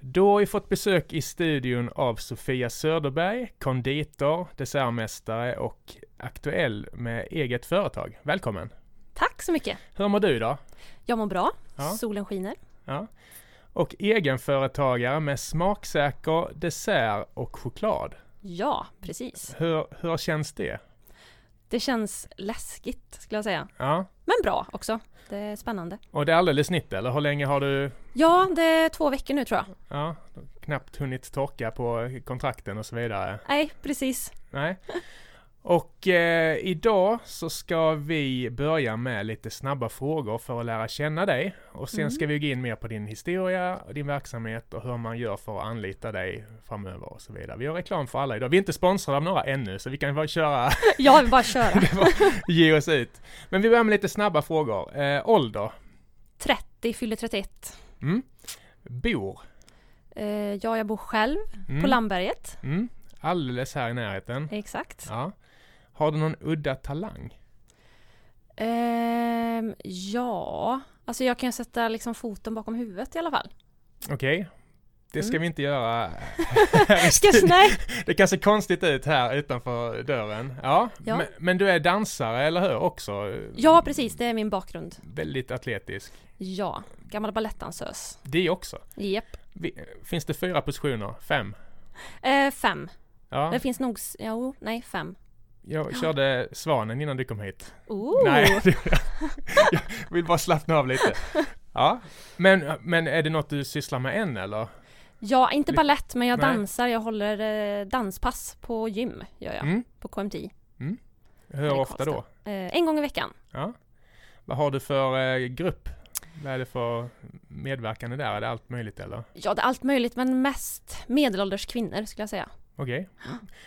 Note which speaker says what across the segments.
Speaker 1: Då har vi fått besök i studion av Sofia Söderberg, konditor, dessertmästare och aktuell med eget företag. Välkommen!
Speaker 2: Tack så mycket.
Speaker 1: Hur mår du idag?
Speaker 2: Jag mår bra.
Speaker 1: Ja.
Speaker 2: Solen skiner.
Speaker 1: Ja. Och egenföretagare med smaksäker dessert och choklad.
Speaker 2: Ja, precis.
Speaker 1: Hur, hur känns det?
Speaker 2: Det känns läskigt skulle jag säga.
Speaker 1: Ja.
Speaker 2: Men bra också. Det är spännande.
Speaker 1: Och det är alldeles nytt eller? Hur länge har du
Speaker 2: Ja, det är två veckor nu tror jag.
Speaker 1: ja, knappt hunnit torka på kontrakten och så vidare?
Speaker 2: Nej, precis.
Speaker 1: Nej. Och eh, idag så ska vi börja med lite snabba frågor för att lära känna dig. Och sen ska vi gå in mer på din historia, och din verksamhet och hur man gör för att anlita dig framöver och så vidare. Vi har reklam för alla idag. Vi är inte sponsrade av några ännu så vi kan bara köra,
Speaker 2: Jag vill bara köra.
Speaker 1: ge oss ut. Men vi börjar med lite snabba frågor. Eh, ålder?
Speaker 2: 30, fyller 31.
Speaker 1: Mm. Bor?
Speaker 2: Eh, ja, jag bor själv
Speaker 1: Mm.
Speaker 2: på Landberget.
Speaker 1: Mm. Alldeles här i närheten.
Speaker 2: Exakt.
Speaker 1: Ja. Har du någon udda talang?
Speaker 2: Ehm, ja, alltså jag kan sätta liksom foten bakom huvudet i alla fall.
Speaker 1: Okej. Det ska
Speaker 2: Mm.
Speaker 1: vi inte göra
Speaker 2: Ska jag, nej,
Speaker 1: Det kan se konstigt ut här utanför dörren. Ja,
Speaker 2: Ja.
Speaker 1: Men, men du är dansare, eller hur? Också
Speaker 2: ja, precis. Det är min bakgrund.
Speaker 1: väldigt atletisk.
Speaker 2: Ja, gammal balettdansös.
Speaker 1: Det också.
Speaker 2: Japp.
Speaker 1: Vi, finns det fyra positioner? Fem?
Speaker 2: Eh, fem.
Speaker 1: Ja,
Speaker 2: Det finns nog, s- jo, nej, fem.
Speaker 1: jag körde svanen innan du kom hit.
Speaker 2: Ooh.
Speaker 1: Nej, det- jag vill bara slappna av lite. Ja, men, men är det något du sysslar med än eller?
Speaker 2: Ja, inte
Speaker 1: Li-
Speaker 2: ballett men jag
Speaker 1: Nej.
Speaker 2: dansar. Jag håller eh, danspass på gym, gör jag.
Speaker 1: Mm.
Speaker 2: På KMTI.
Speaker 1: Hur
Speaker 2: det är
Speaker 1: ofta då?
Speaker 2: konstigt. Eh, en gång i veckan.
Speaker 1: Ja. Vad har du för eh, grupp? Vad är det för medverkande där? Är det allt möjligt eller?
Speaker 2: Ja, det är allt möjligt men mest medelålders kvinnor skulle jag säga.
Speaker 1: Okej.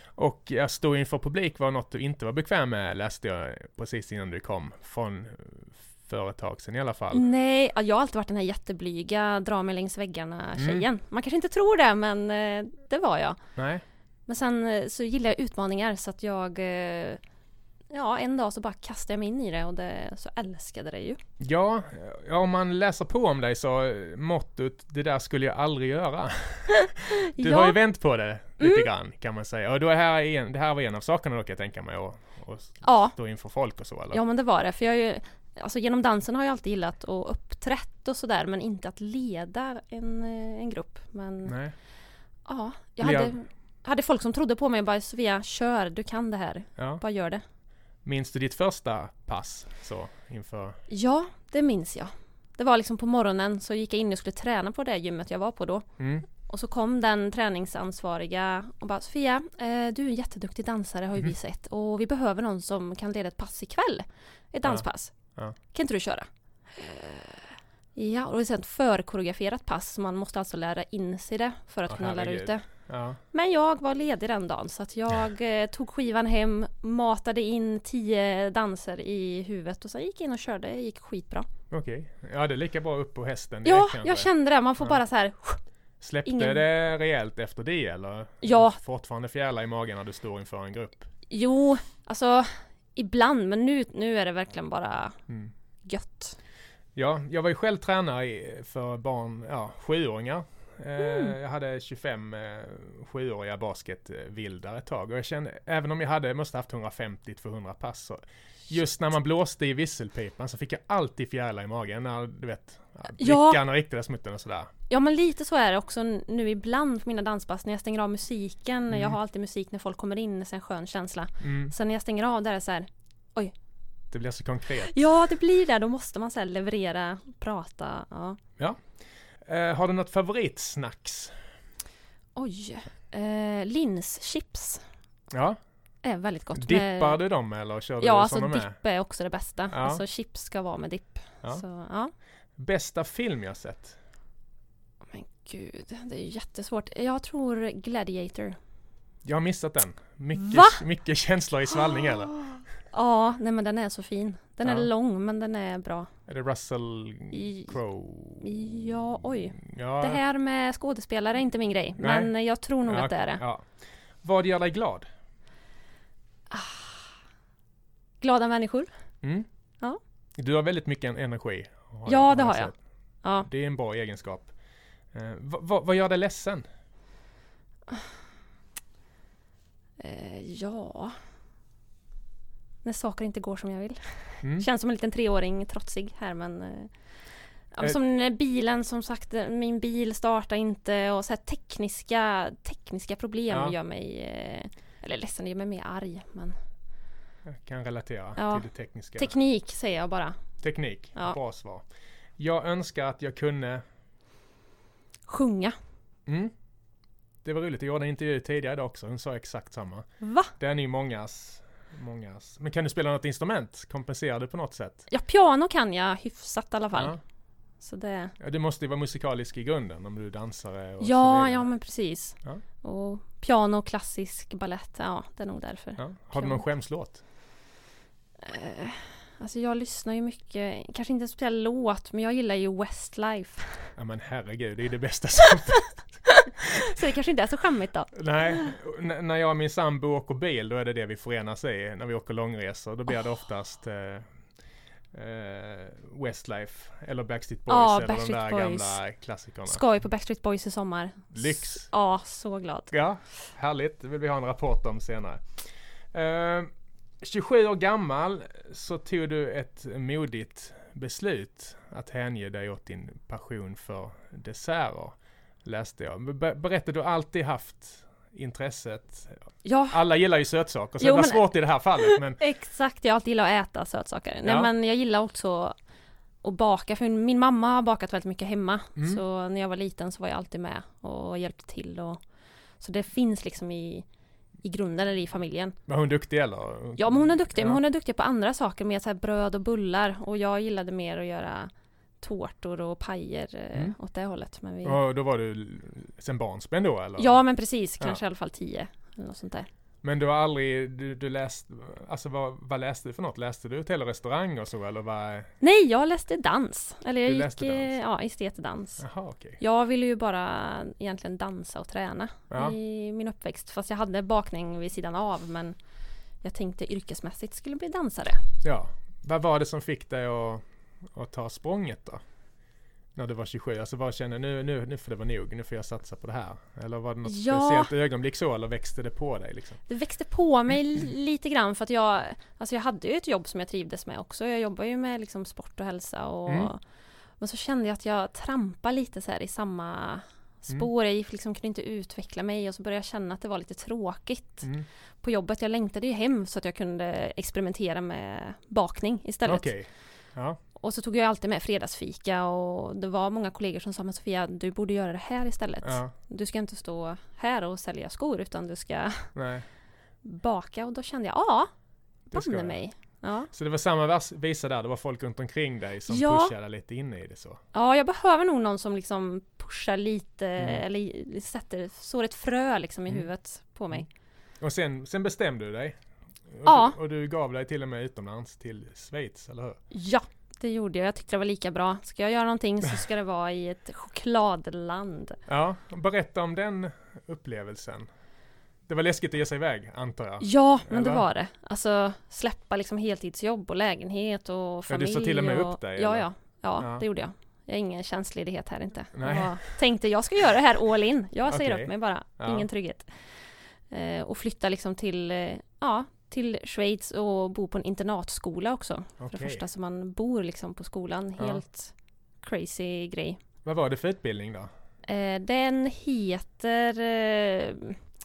Speaker 1: Och att stå inför publik var något du inte var bekväm med läste jag precis innan du kom från eh, företag sen i alla fall.
Speaker 2: Nej, ja, jag har alltid varit den här jätteblyga, dra mig längs väggarna
Speaker 1: Mm.
Speaker 2: tjejen. Man kanske inte tror det men eh, det var jag.
Speaker 1: Nej.
Speaker 2: Men sen eh, så gillar jag utmaningar så att jag eh, Ja, en dag så bara kastade jag mig in i det och det, så älskade det ju.
Speaker 1: Ja, ja, om man läser på om dig så eh, mottot det där skulle jag aldrig göra. Du
Speaker 2: ja, Mm.
Speaker 1: har ju vänt på det lite grann kan man säga. Och då är här en, det här var en av sakerna då kan jag tänka mig. Och, och
Speaker 2: ja,
Speaker 1: stå inför folk och så eller?
Speaker 2: Ja men det var det, för jag är ju Alltså genom dansen har jag alltid gillat att uppträtt och sådär men inte att leda en, eh, en grupp. Men
Speaker 1: Nej.
Speaker 2: ja, jag
Speaker 1: Lea-
Speaker 2: hade, hade folk som trodde på mig och bara Sofia, kör, du kan det här.
Speaker 1: Ja.
Speaker 2: Bara gör det.
Speaker 1: Minns du ditt första pass så inför?
Speaker 2: Ja, det minns jag. Det var liksom på morgonen så gick jag in och skulle träna på det gymmet jag var på då.
Speaker 1: Mm.
Speaker 2: Och så kom den träningsansvariga och bara Sofia, eh, du är en jätteduktig dansare
Speaker 1: Mhm.
Speaker 2: har ju vi sett och vi behöver någon som kan leda ett pass ikväll. Ett
Speaker 1: Ja.
Speaker 2: danspass.
Speaker 1: Ja.
Speaker 2: Kan inte du köra? Eh, Ja, och det är sen ett förkoreograferat pass så man måste alltså lära in sig det för att
Speaker 1: Åh,
Speaker 2: kunna lära ut
Speaker 1: herregud.
Speaker 2: det.
Speaker 1: Ja.
Speaker 2: Men jag var ledig den dagen så att jag eh, tog skivan hem, matade in tio danser i huvudet och sen gick jag in och körde. Det gick skitbra.
Speaker 1: Okej. Ja, det är lika bra upp på hästen direkt
Speaker 2: Ja,
Speaker 1: kanske.
Speaker 2: jag kände det. Man får
Speaker 1: Ja.
Speaker 2: bara så här
Speaker 1: Släppte
Speaker 2: Ingen-
Speaker 1: det rejält efter det eller?
Speaker 2: Ja.
Speaker 1: Fortfarande fjärilar i magen när du står inför en grupp?
Speaker 2: Jo, alltså ibland, men nu, nu är det verkligen bara
Speaker 1: Mm.
Speaker 2: gött.
Speaker 1: Ja, jag var ju själv tränare i- för barn, ja, sjuåringar. Eh,
Speaker 2: Mm.
Speaker 1: Jag hade 25 eh, sjuåriga basketvildar ett tag och jag kände, även om jag hade, måste haft 150-200 pass så just när man blåste i visselpipan så fick jag alltid fjärilar i magen när du vet,
Speaker 2: Ja.
Speaker 1: blickarna riktades mot den och sådär.
Speaker 2: Ja, men lite så är det också nu ibland på mina danspass när jag stänger av musiken.
Speaker 1: Mm.
Speaker 2: Jag har alltid musik när folk kommer in, det är en skön känsla.
Speaker 1: Mm,
Speaker 2: Sen när jag stänger av där är det så här,
Speaker 1: det blir så konkret.
Speaker 2: ja det blir det, då måste man så här leverera, prata, ja.
Speaker 1: Eh, har du något favoritsnacks?
Speaker 2: Oj, eh, linschips
Speaker 1: Ja,
Speaker 2: är väldigt gott.
Speaker 1: dippar
Speaker 2: med,
Speaker 1: du dem eller kör du
Speaker 2: Ja,
Speaker 1: som
Speaker 2: alltså
Speaker 1: de är?
Speaker 2: dipp är också det bästa.
Speaker 1: Ja.
Speaker 2: Alltså chips ska vara med dipp.
Speaker 1: Ja.
Speaker 2: Så, ja.
Speaker 1: Bästa film jag sett?
Speaker 2: Men gud, det är jättesvårt. Jag tror Gladiator.
Speaker 1: Jag har missat den. Mycket,
Speaker 2: Va?
Speaker 1: mycket känslor i svallning eller?
Speaker 2: Ja, nej men den är så fin. Den
Speaker 1: Ja.
Speaker 2: är lång men den är bra.
Speaker 1: Är det Russell
Speaker 2: I-
Speaker 1: Crowe?
Speaker 2: Ja, oj.
Speaker 1: Ja,
Speaker 2: Det här med skådespelare är inte min grej.
Speaker 1: Nej.
Speaker 2: Men jag tror nog
Speaker 1: ja,
Speaker 2: att det är det.
Speaker 1: Ja. Vad gör dig glad?
Speaker 2: Glada människor.
Speaker 1: Mm?
Speaker 2: Ja.
Speaker 1: Du har väldigt mycket en- energi. har
Speaker 2: Ja, det
Speaker 1: jag
Speaker 2: har jag.
Speaker 1: sett.
Speaker 2: Ja,
Speaker 1: Det är en bra egenskap. Eh, vad- vad- vad gör dig ledsen?
Speaker 2: Eh, ja. När saker inte går som jag vill.
Speaker 1: Mm.
Speaker 2: Känns som en liten treåring, trotsig här men... eh, ja, men
Speaker 1: Eh.
Speaker 2: Som när bilen som sagt, eh, min bil startar inte och så här tekniska, tekniska problem
Speaker 1: Ja.
Speaker 2: gör mig... eh, Eller ledsen, det gör mig mer arg. Men
Speaker 1: Jag kan relatera
Speaker 2: Ja.
Speaker 1: till det tekniska.
Speaker 2: teknik säger jag bara.
Speaker 1: Teknik,
Speaker 2: Ja.
Speaker 1: bra svar. Jag önskar att jag kunde...
Speaker 2: Sjunga.
Speaker 1: Mm. Det var roligt, jag gjorde en intervju tidigare idag också, hon sa exakt samma.
Speaker 2: Va?
Speaker 1: Den är ju mångas, mångas. Men kan du spela något instrument? Kompenserar du på något sätt?
Speaker 2: Ja, piano kan jag hyfsat i alla fall.
Speaker 1: Ja.
Speaker 2: Så det...
Speaker 1: Ja, Du måste ju vara musikalisk i grunden om du är dansare och så
Speaker 2: Ja,
Speaker 1: vidare.
Speaker 2: ja men precis.
Speaker 1: Ja.
Speaker 2: Och piano, klassisk, ballett. Ja, det är nog därför.
Speaker 1: Ja. Har du någon skämslåt?
Speaker 2: Eh, Alltså jag lyssnar ju mycket, kanske inte en speciell låt, men jag gillar ju Westlife.
Speaker 1: Ja men herregud, det är ju det bästa som...
Speaker 2: Så det kanske inte är så skämmigt då.
Speaker 1: Nej, n- när jag och min sambo åker bil då är det det vi förenas i när vi åker långresor. Då blir det oftast eh, eh, Westlife eller Backstreet Boys
Speaker 2: Ja,
Speaker 1: eller
Speaker 2: Backstreet
Speaker 1: de där
Speaker 2: Boys.
Speaker 1: gamla klassikerna.
Speaker 2: Skoj på Backstreet Boys i sommar.
Speaker 1: Lyx.
Speaker 2: S- Ja, så glad.
Speaker 1: Ja, härligt. Det vill vi ha en rapport om senare. Eh, 27 år gammal så tog du ett modigt beslut att hänge dig åt din passion för desserter, läste jag. Be- berätta, du har alltid haft intresset.
Speaker 2: Ja,
Speaker 1: Alla gillar ju sötsaker, så
Speaker 2: Jo,
Speaker 1: det var
Speaker 2: men-
Speaker 1: svårt i det här fallet. Men
Speaker 2: exakt. Jag har alltid gillat att äta sötsaker. Nej
Speaker 1: Ja.
Speaker 2: men jag gillar också att baka, för min mamma har bakat väldigt mycket hemma.
Speaker 1: Mm.
Speaker 2: Så när jag var liten så var jag alltid med och hjälpte till. Och, så det finns liksom i, i grunden eller i familjen.
Speaker 1: var hon duktig eller?
Speaker 2: Ja men hon är duktig,
Speaker 1: Ja.
Speaker 2: men hon är duktig på andra saker med så här bröd och bullar och jag gillade mer att göra tårtor och pajer eh,
Speaker 1: Mm.
Speaker 2: åt det hållet. Men vi...
Speaker 1: Och då var du l- sen barnsben då eller?
Speaker 2: Ja men precis,
Speaker 1: Ja.
Speaker 2: kanske i alla fall tio eller något sånt där.
Speaker 1: Men du har aldrig, du, du läste, alltså vad, vad läste du för något? Läste du hotell och restaurang och så eller vad?
Speaker 2: Nej, jag läste dans. Eller jag
Speaker 1: Du
Speaker 2: gick
Speaker 1: läste
Speaker 2: eh,
Speaker 1: dans?
Speaker 2: ja, estetdans.
Speaker 1: Jaha okej.
Speaker 2: Jag ville ju bara egentligen dansa och träna
Speaker 1: Ja.
Speaker 2: i min uppväxt. Fast jag hade bakning vid sidan av men jag tänkte yrkesmässigt skulle bli dansare.
Speaker 1: Ja, vad var det som fick dig att, att ta språnget då? När du var 27, alltså vad kände nu, nu, nu får det vara nog, nu får jag satsa på det här? Eller var det något
Speaker 2: Ja.
Speaker 1: speciellt ögonblick så, eller växte det på dig liksom?
Speaker 2: Det växte på mig
Speaker 1: Mm.
Speaker 2: li- lite grann för att jag Alltså jag hade ju ett jobb som jag trivdes med också. Jag jobbar ju med liksom sport och hälsa och
Speaker 1: Mm.
Speaker 2: Men så kände jag att jag trampar lite så här i samma
Speaker 1: Mm.
Speaker 2: spår. Jag gick liksom, kunde inte utveckla mig och så började jag känna att det var lite tråkigt
Speaker 1: Mm.
Speaker 2: på jobbet. Jag längtade ju hem så att jag kunde experimentera med bakning istället.
Speaker 1: Okej, ja.
Speaker 2: Och så tog jag alltid med fredagsfika och det var många kollegor som sa men Sofia du borde göra det här istället.
Speaker 1: ja.
Speaker 2: Du ska inte stå här och sälja skor utan du ska
Speaker 1: Nej,
Speaker 2: baka och då kände jag ja,
Speaker 1: det ska
Speaker 2: banne
Speaker 1: jag.
Speaker 2: mig. Ja.
Speaker 1: Så det var samma vers- visa där, det var folk runt omkring dig som
Speaker 2: Ja.
Speaker 1: pushade lite in i det så.
Speaker 2: ja, jag behöver nog någon som liksom pushar lite
Speaker 1: Mm.
Speaker 2: eller sätter, sår ett frö liksom i
Speaker 1: Mm.
Speaker 2: huvudet på mig.
Speaker 1: Och sen, sen bestämde du dig? Och
Speaker 2: Ja.
Speaker 1: Du, och du gav dig till och med utomlands till Schweiz, eller hur?
Speaker 2: Ja, det gjorde jag. Jag tyckte det var lika bra. Ska jag göra någonting så ska det vara i ett chokladland.
Speaker 1: Ja, berätta om den upplevelsen. Det var läskigt att ge sig iväg, antar jag.
Speaker 2: Ja, men det
Speaker 1: Eller?
Speaker 2: var det. Alltså släppa liksom heltidsjobb och lägenhet och
Speaker 1: Ja, du
Speaker 2: familj.
Speaker 1: sa till och med
Speaker 2: och...
Speaker 1: upp dig,
Speaker 2: Ja,
Speaker 1: eller?
Speaker 2: ja, ja,
Speaker 1: Ja.
Speaker 2: det gjorde jag. Jag har ingen tjänstledighet här inte.
Speaker 1: Nej.
Speaker 2: Jag tänkte jag ska göra det här all in. Jag säger
Speaker 1: Okej.
Speaker 2: upp mig bara.
Speaker 1: Ja.
Speaker 2: Ingen trygghet. Eh, och flytta liksom till, eh, ja, till Schweiz och bo på en internatskola också. För det
Speaker 1: Okej.
Speaker 2: första så man bor liksom på skolan.
Speaker 1: Ja.
Speaker 2: Helt crazy grej.
Speaker 1: Vad var det för utbildning då?
Speaker 2: Eh, den heter eh,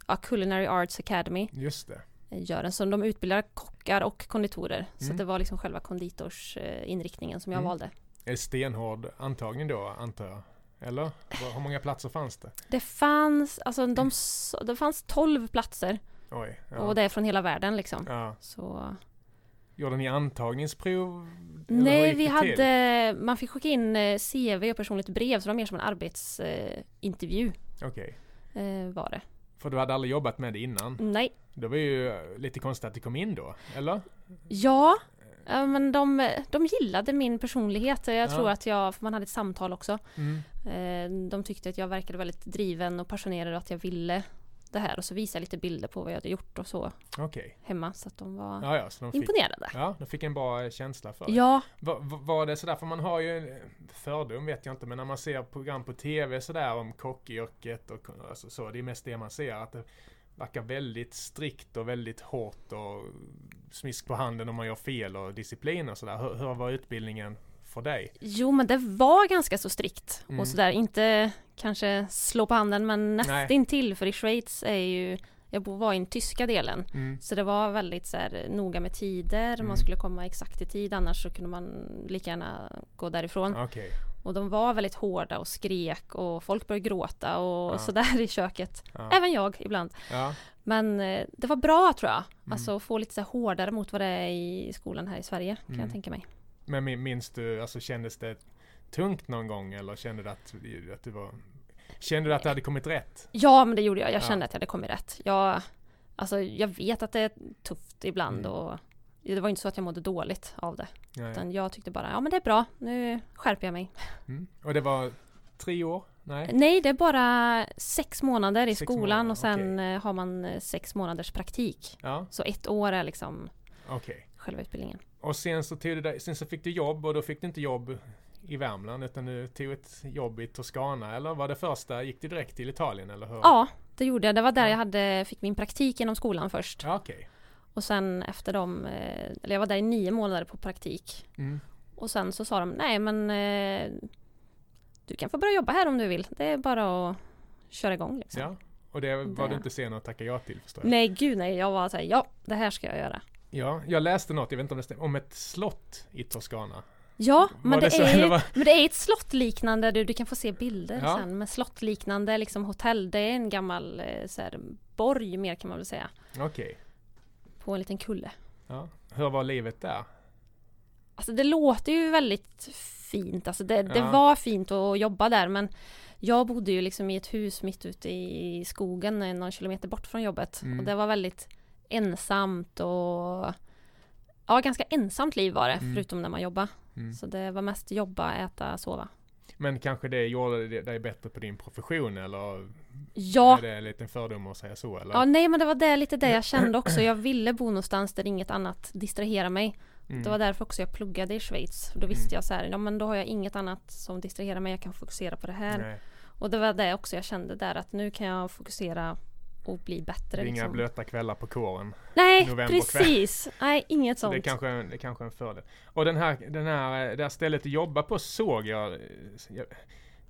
Speaker 2: ja, Culinary Arts Academy.
Speaker 1: Just det.
Speaker 2: Gör den. eh, Så de utbildar kockar och konditorer. Så
Speaker 1: Mm.
Speaker 2: det var liksom själva konditorsinriktningen som jag
Speaker 1: Mm.
Speaker 2: valde.
Speaker 1: Är det stenhård antagning då, antar jag? Eller? Vad- Hur många platser fanns det?
Speaker 2: Det fanns, alltså de, s- det fanns 12 platser
Speaker 1: Oj. Mm. Ja.
Speaker 2: och det är från hela världen liksom.
Speaker 1: ja.
Speaker 2: Så,
Speaker 1: Gjorde ni antagningsprov? Eller hur
Speaker 2: nej,
Speaker 1: gick
Speaker 2: vi
Speaker 1: det till?
Speaker 2: hade, man fick skicka in eh, CV och personligt brev så det var mer som en arbetsintervju
Speaker 1: Okej.
Speaker 2: eh, var det.
Speaker 1: För du hade aldrig jobbat med det innan?
Speaker 2: Nej,
Speaker 1: Det var ju eh, lite konstigt att du kom in då, eller?
Speaker 2: ja, eh, men de, de gillade min personlighet. Jag
Speaker 1: Ja.
Speaker 2: tror att jag, för man hade ett samtal också.
Speaker 1: Mm.
Speaker 2: Eh, De tyckte att jag verkade väldigt driven och passionerad och att jag ville det här och så visade jag lite bilder på vad jag hade gjort och så
Speaker 1: Okej.
Speaker 2: hemma så att de var
Speaker 1: Ja, ja, så de fick,
Speaker 2: imponerade.
Speaker 1: ja, de fick en bra känsla för det.
Speaker 2: Ja,
Speaker 1: Va- va- Var det sådär, för man har ju en fördom vet jag inte, men när man ser program på TV sådär om kockyrket och ko- alltså, så, det är mest det man ser. Att det verkar väldigt strikt och väldigt hårt och smisk på handen om man gör fel och disciplin och sådär. Hur, hur var utbildningen för dig?
Speaker 2: jo men det var ganska så strikt
Speaker 1: Mm.
Speaker 2: och sådär. Inte kanske slå på handen men nästintill för i Schweiz är ju, jag bo- var i den tyska delen.
Speaker 1: Mm.
Speaker 2: Så det var väldigt så här, eh, noga med tider,
Speaker 1: Mm.
Speaker 2: man skulle komma exakt i tid annars så kunde man lika gärna gå därifrån.
Speaker 1: Ah, Okej.
Speaker 2: Och de var väldigt hårda och skrek och folk började gråta och
Speaker 1: Ja.
Speaker 2: sådär i köket.
Speaker 1: Ja.
Speaker 2: Även jag ibland.
Speaker 1: Ja.
Speaker 2: Men eh, det var bra tror jag.
Speaker 1: Mm.
Speaker 2: Alltså att få lite så här hårdare mot vad det är i skolan här i Sverige kan
Speaker 1: Mm.
Speaker 2: jag tänka mig.
Speaker 1: Men min- minns du, alltså kändes det tungt någon gång eller kände du att, att det var Kände du att det hade kommit rätt?
Speaker 2: Ja men det gjorde jag. Jag
Speaker 1: Ja.
Speaker 2: kände att jag hade kommit rätt. Jag, alltså, jag vet att det är tufft ibland
Speaker 1: Mm.
Speaker 2: och det var inte så att jag mådde dåligt av det.
Speaker 1: Nej.
Speaker 2: Utan jag tyckte bara, ja men det är bra. Nu skärper jag mig.
Speaker 1: Mm. Och det var tre år? Nej?
Speaker 2: Nej, det är bara sex månader i
Speaker 1: Sex
Speaker 2: skolan
Speaker 1: månader,
Speaker 2: och sen eh, har man eh, sex månaders praktik.
Speaker 1: Ja,
Speaker 2: Så ett år är liksom
Speaker 1: okej.
Speaker 2: själva utbildningen.
Speaker 1: Och sen så, tog du, dig- sen så fick du jobb och då fick du inte jobb i Värmland utan du tog ett jobb i Toscana eller var det första? Gick du direkt till Italien eller hur?
Speaker 2: Ja, det gjorde jag. Det var där
Speaker 1: Ja.
Speaker 2: jag hade, fick min praktik inom skolan först.
Speaker 1: Ja, Okej.
Speaker 2: Och sen efter dem, eh, eller jag var där i nio månader på praktik.
Speaker 1: Mm.
Speaker 2: Och sen så sa de, nej men eh, du kan få börja jobba här om du vill. Det är bara att köra igång liksom.
Speaker 1: Ja. Och det var du
Speaker 2: Det-
Speaker 1: inte sen att tacka ja till förstår jag.
Speaker 2: Nej gud nej, jag var såhär, ja det här ska jag göra.
Speaker 1: Ja, jag läste något, jag vet inte om det stämmer, om ett slott i Toscana.
Speaker 2: Ja,
Speaker 1: Var
Speaker 2: men
Speaker 1: det
Speaker 2: det,
Speaker 1: så,
Speaker 2: är
Speaker 1: eller
Speaker 2: ju,
Speaker 1: vad?
Speaker 2: men det är ett slottliknande, du, du kan få se bilder
Speaker 1: Ja.
Speaker 2: sen, men slottliknande liksom hotell, det är en gammal eh, så här, borg mer kan man väl säga,
Speaker 1: Okej.
Speaker 2: på en liten kulle.
Speaker 1: Ja. Hur var livet där?
Speaker 2: Alltså det låter ju väldigt fint, alltså det, det
Speaker 1: Ja.
Speaker 2: var fint att jobba där men jag bodde ju liksom i ett hus mitt ute i skogen eh, någon kilometer bort från jobbet
Speaker 1: Mm.
Speaker 2: och det var väldigt ensamt och ja, ganska ensamt liv var det
Speaker 1: Mm.
Speaker 2: förutom när man jobbade.
Speaker 1: Mm.
Speaker 2: Så det var mest jobba, äta, sova.
Speaker 1: Men kanske det gjorde det- dig bättre på din profession eller
Speaker 2: Ja,
Speaker 1: är det en liten fördom att säga så eller?
Speaker 2: Ja, nej men det var det, lite det jag kände också. Jag ville bo någonstans där inget annat distraherar mig.
Speaker 1: Mm.
Speaker 2: Det var därför också jag pluggade i Schweiz. För då visste jag så här, ja men då har jag inget annat som distraherar mig. Jag kan fokusera på det här.
Speaker 1: Nej.
Speaker 2: Och det var det också jag kände där, att nu kan jag fokusera och bli
Speaker 1: Det
Speaker 2: bättre.
Speaker 1: är inga
Speaker 2: liksom.
Speaker 1: blöta kvällar på kåren.
Speaker 2: Nej,
Speaker 1: novemberkväll.
Speaker 2: precis! Nej, inget
Speaker 1: Så
Speaker 2: sånt.
Speaker 1: det är kanske är, det är kanske är en fördel. Och den här, den här, eh, det här stället du jobbar på såg jag, eh, jag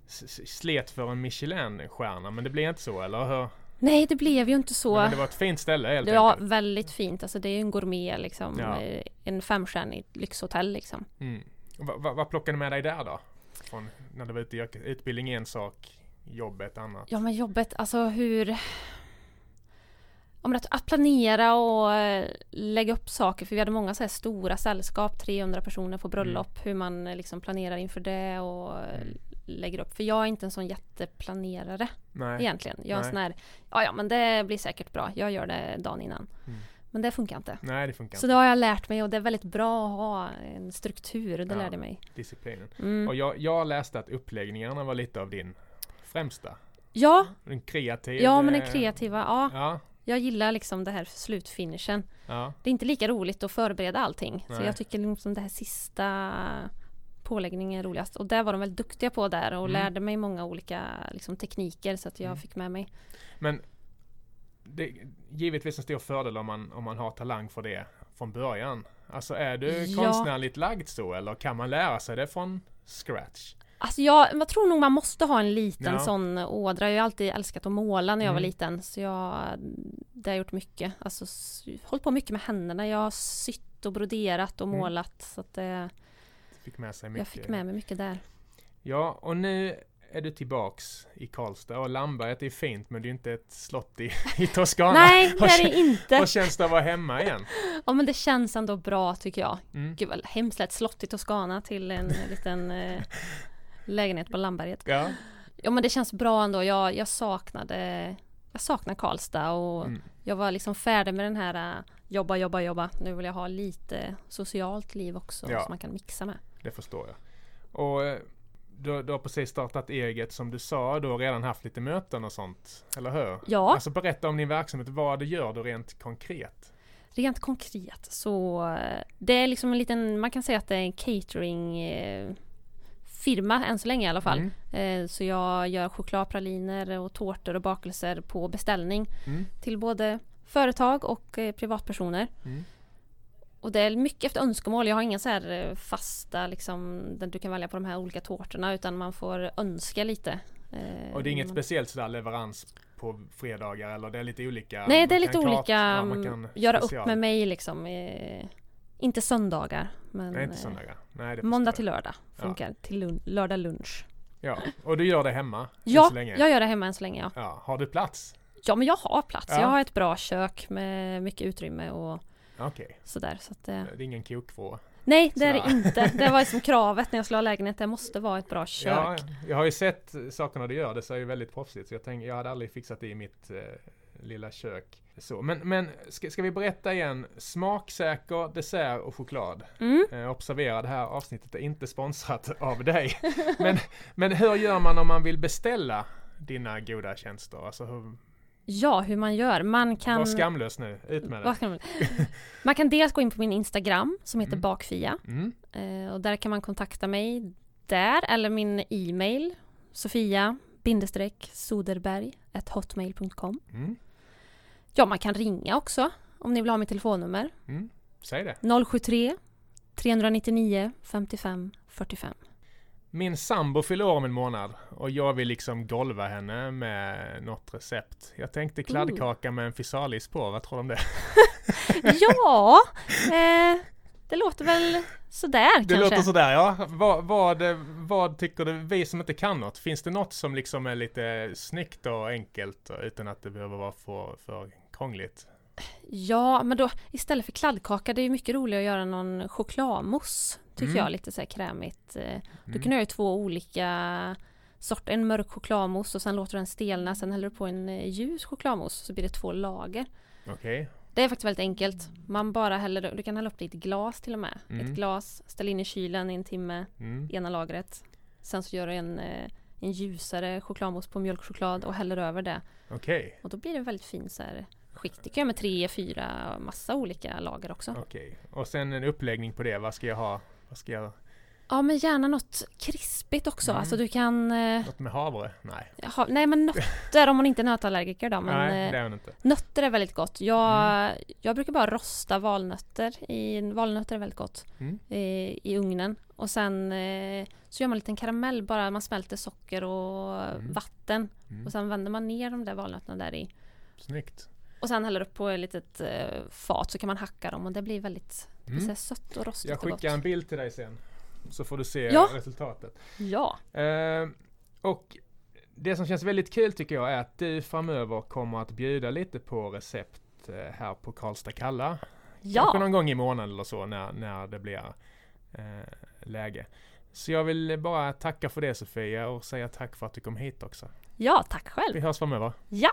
Speaker 1: s- s- slet för en Michelin-stjärna men det blev inte så eller? Hur?
Speaker 2: Nej, det blev ju inte så.
Speaker 1: Men det var ett fint ställe helt
Speaker 2: ja,
Speaker 1: enkelt.
Speaker 2: väldigt fint. Alltså det är ju en gourmet liksom.
Speaker 1: Ja.
Speaker 2: Eh, En femstjärnig lyxhotell liksom.
Speaker 1: Mm. Och Va, va, vad plockade du med dig där då? Från när du var ute i yrket? Utbildning är en sak, jobb är ett annat.
Speaker 2: Ja men jobbet, alltså hur... Ja, men att, att planera och eh, lägga upp saker, för vi hade många så här stora sällskap, 300 personer på bröllop, hur man eh, liksom planerar inför det och eh,
Speaker 1: Mm.
Speaker 2: lägger upp. För jag är inte en sån jätteplanerare
Speaker 1: Nej.
Speaker 2: egentligen. Jag är en
Speaker 1: Nej.
Speaker 2: sån här, ja ja men det blir säkert bra, jag gör det dagen innan.
Speaker 1: Mm.
Speaker 2: Men det funkar inte.
Speaker 1: Nej, det funkar
Speaker 2: Så
Speaker 1: inte.
Speaker 2: det har jag lärt mig och det är väldigt bra att ha en struktur, det
Speaker 1: Ja.
Speaker 2: lärde jag mig.
Speaker 1: Disciplinen.
Speaker 2: Mm.
Speaker 1: Och jag, jag läste att uppläggningarna var lite av din främsta.
Speaker 2: Ja,
Speaker 1: En kreativ.
Speaker 2: ja men den
Speaker 1: eh,
Speaker 2: kreativa, ja.
Speaker 1: Ja,
Speaker 2: Jag gillar liksom det här slutfinishen.
Speaker 1: ja.
Speaker 2: Det är inte lika roligt att förbereda allting. Så
Speaker 1: Nej.
Speaker 2: jag tycker liksom det här sista påläggningen är roligast. Och det var de väldigt duktiga på där och
Speaker 1: Mm.
Speaker 2: lärde mig många olika liksom, tekniker så att jag
Speaker 1: Mm.
Speaker 2: fick med mig.
Speaker 1: Men det, givetvis en stor fördel om man, om man har talang för det från början. Alltså är du
Speaker 2: Ja.
Speaker 1: konstnärligt lagd så eller kan man lära sig det från scratch?
Speaker 2: Alltså jag, jag tror nog man måste ha en liten
Speaker 1: Ja.
Speaker 2: sån ådra. Jag har alltid älskat att måla när jag var
Speaker 1: Mm.
Speaker 2: liten. Så jag, det har jag gjort mycket. Alltså s- hållit på mycket med händerna. Jag har sytt och broderat och
Speaker 1: Mm.
Speaker 2: målat. Så att det,
Speaker 1: Fick med sig mycket.
Speaker 2: jag fick med mig mycket där.
Speaker 1: Ja, och nu är du tillbaks i Karlstad och Landberget är fint men det är inte ett slott i, i Toscana.
Speaker 2: Nej, det
Speaker 1: Vad
Speaker 2: är
Speaker 1: kän-
Speaker 2: det inte.
Speaker 1: Vad känns det att vara hemma igen?
Speaker 2: Ja men det känns ändå bra tycker jag.
Speaker 1: Mm.
Speaker 2: Gud vad hemskt lätt slott i Toscana till en liten eh, lägenhet på Landberget.
Speaker 1: Ja.
Speaker 2: Ja men det känns bra ändå. Jag, jag saknade jag saknar Karlstad och
Speaker 1: Mm.
Speaker 2: jag var liksom färdig med den här eh, jobba, jobba, jobba. Nu vill jag ha lite socialt liv också
Speaker 1: Ja.
Speaker 2: som man kan mixa med.
Speaker 1: Det förstår jag. Och eh, du, du har precis startat eget som du sa, du har redan haft lite möten och sånt, eller hur?
Speaker 2: Ja.
Speaker 1: Alltså berätta om din verksamhet, vad det gör du rent konkret?
Speaker 2: Rent konkret så eh, det är liksom en liten, man kan säga att det är en catering eh, firma än så länge i alla fall.
Speaker 1: Mm.
Speaker 2: Eh, Så jag gör chokladpraliner och tårtor och bakelser på beställning
Speaker 1: Mm.
Speaker 2: till både företag och eh, privatpersoner.
Speaker 1: Mm.
Speaker 2: Och det är mycket efter önskemål. Jag har inga så här eh, fasta liksom där du kan välja på de här olika tårtorna utan man får önska lite. Eh,
Speaker 1: Och det är inget
Speaker 2: man-
Speaker 1: speciellt sådär leverans på fredagar eller det är lite olika?
Speaker 2: Nej,
Speaker 1: man
Speaker 2: det
Speaker 1: kan
Speaker 2: är lite
Speaker 1: klara-
Speaker 2: olika. mm,
Speaker 1: ja, man kan
Speaker 2: göra upp
Speaker 1: special.
Speaker 2: med mig liksom. eh, Inte söndagar. Men
Speaker 1: Nej, inte
Speaker 2: eh,
Speaker 1: söndagar. Nej, det
Speaker 2: måndag
Speaker 1: förstår
Speaker 2: till lördag
Speaker 1: Ja.
Speaker 2: funkar. Till lun- lördag lunch.
Speaker 1: jag. Ja, och du gör det hemma? än
Speaker 2: Ja,
Speaker 1: så länge.
Speaker 2: jag gör det hemma än så länge. Ja,
Speaker 1: ja. Har du plats?
Speaker 2: ja men jag har plats.
Speaker 1: Ja.
Speaker 2: Jag har ett bra kök med mycket utrymme och
Speaker 1: Okej,
Speaker 2: sådär. Så att, eh,
Speaker 1: det är ingen kokvrå.
Speaker 2: nej, det är det
Speaker 1: Sådär.
Speaker 2: inte. Det var liksom kravet när jag skulle ha lägenhet. Det måste vara ett bra kök.
Speaker 1: Ja, jag har ju sett sakerna du gör, det ser ju väldigt proffsigt så jag tänker, jag hade aldrig fixat det i mitt eh, lilla kök. Så, men men ska, ska vi berätta igen, smaksäker dessert och choklad.
Speaker 2: Mm.
Speaker 1: Eh, observera, det här avsnittet är inte sponsrat av dig. Men, men hur gör man om man vill beställa dina goda tjänster? Alltså hur,
Speaker 2: Ja, hur man gör. Man kan...
Speaker 1: Var skamlös nu, ut med
Speaker 2: vad
Speaker 1: det.
Speaker 2: ska man, man kan dels gå in på min Instagram som heter
Speaker 1: Mm.
Speaker 2: bakfia.
Speaker 1: Mm.
Speaker 2: Eh, och där kan man kontakta mig där eller min e-mail sofia soderberg hotmail.com
Speaker 1: Mm.
Speaker 2: Ja, man kan ringa också om ni vill ha mitt telefonnummer
Speaker 1: Mm. Säg det.
Speaker 2: 073 399 55 45.
Speaker 1: Min sambo fyller år om en månad och jag vill liksom golva henne med något recept. Jag tänkte kladdkaka med en physalis på, vad tror du om det?
Speaker 2: Ja, eh, det låter väl sådär
Speaker 1: Det
Speaker 2: kanske.
Speaker 1: låter sådär ja. Vad, vad, vad tycker du, vi som inte kan något, finns det något som liksom är lite snyggt och enkelt och utan att det behöver vara för, för krångligt?
Speaker 2: Ja, men då istället för kladdkaka, det är ju mycket roligare att göra någon chokladmousse. Tycker
Speaker 1: Mm.
Speaker 2: jag, lite så här krämigt. Eh, Då kan du göra två olika sorter, en mörk chokladmousse och sen låter du den stelna, sen häller du på en eh, ljus chokladmousse så blir det två lager.
Speaker 1: Okej.
Speaker 2: Det är faktiskt väldigt enkelt. Man bara häller, du kan hälla upp det i ett glas till och med.
Speaker 1: Mm.
Speaker 2: Ett glas, ställ in i kylen i en timme,
Speaker 1: Mm.
Speaker 2: ena lagret. Sen så gör du en, eh, en ljusare chokladmousse på mjölkchoklad och häller över det.
Speaker 1: Okej.
Speaker 2: Och då blir det väldigt fin så här skikt. Det kan jag göra med tre, fyra, massa olika lager också.
Speaker 1: Okej. Och sen en uppläggning på det, vad ska jag ha? Vad ska jag,
Speaker 2: Ja men gärna något krispigt också.
Speaker 1: Mm.
Speaker 2: Alltså du kan eh,
Speaker 1: något med havre? Nej.
Speaker 2: ha, Nej men nötter om man inte är nötallergiker då. Men,
Speaker 1: Nej,
Speaker 2: eh,
Speaker 1: det Mm. är hon inte.
Speaker 2: Nötter är väldigt gott. Jag, jag brukar bara rosta valnötter. I, valnötter är väldigt gott
Speaker 1: Mm.
Speaker 2: eh, i ugnen. Och sen eh, så gör man en liten karamell bara. Man smälter socker och
Speaker 1: Mm.
Speaker 2: vatten.
Speaker 1: Mm.
Speaker 2: Och sen vänder man ner de där valnötterna där i.
Speaker 1: Snyggt.
Speaker 2: Och sen häller upp på ett litet eh, fat så kan man hacka dem och det blir väldigt det blir
Speaker 1: Mm.
Speaker 2: så här sött och rostigt
Speaker 1: Jag
Speaker 2: och gott.
Speaker 1: skickar en bild till dig sen. Så får du se
Speaker 2: Ja.
Speaker 1: resultatet.
Speaker 2: Ja,
Speaker 1: Eh, och det som känns väldigt kul tycker jag är att du framöver kommer att bjuda lite på recept eh, här på Karlstad Kalla. Kanske
Speaker 2: ja.
Speaker 1: någon gång i månaden eller så när, när det blir eh, läge. Så jag vill bara tacka för det Sofia och säga tack för att du kom hit också.
Speaker 2: ja, tack
Speaker 1: Vi
Speaker 2: själv.
Speaker 1: hörs framöver.
Speaker 2: Ja,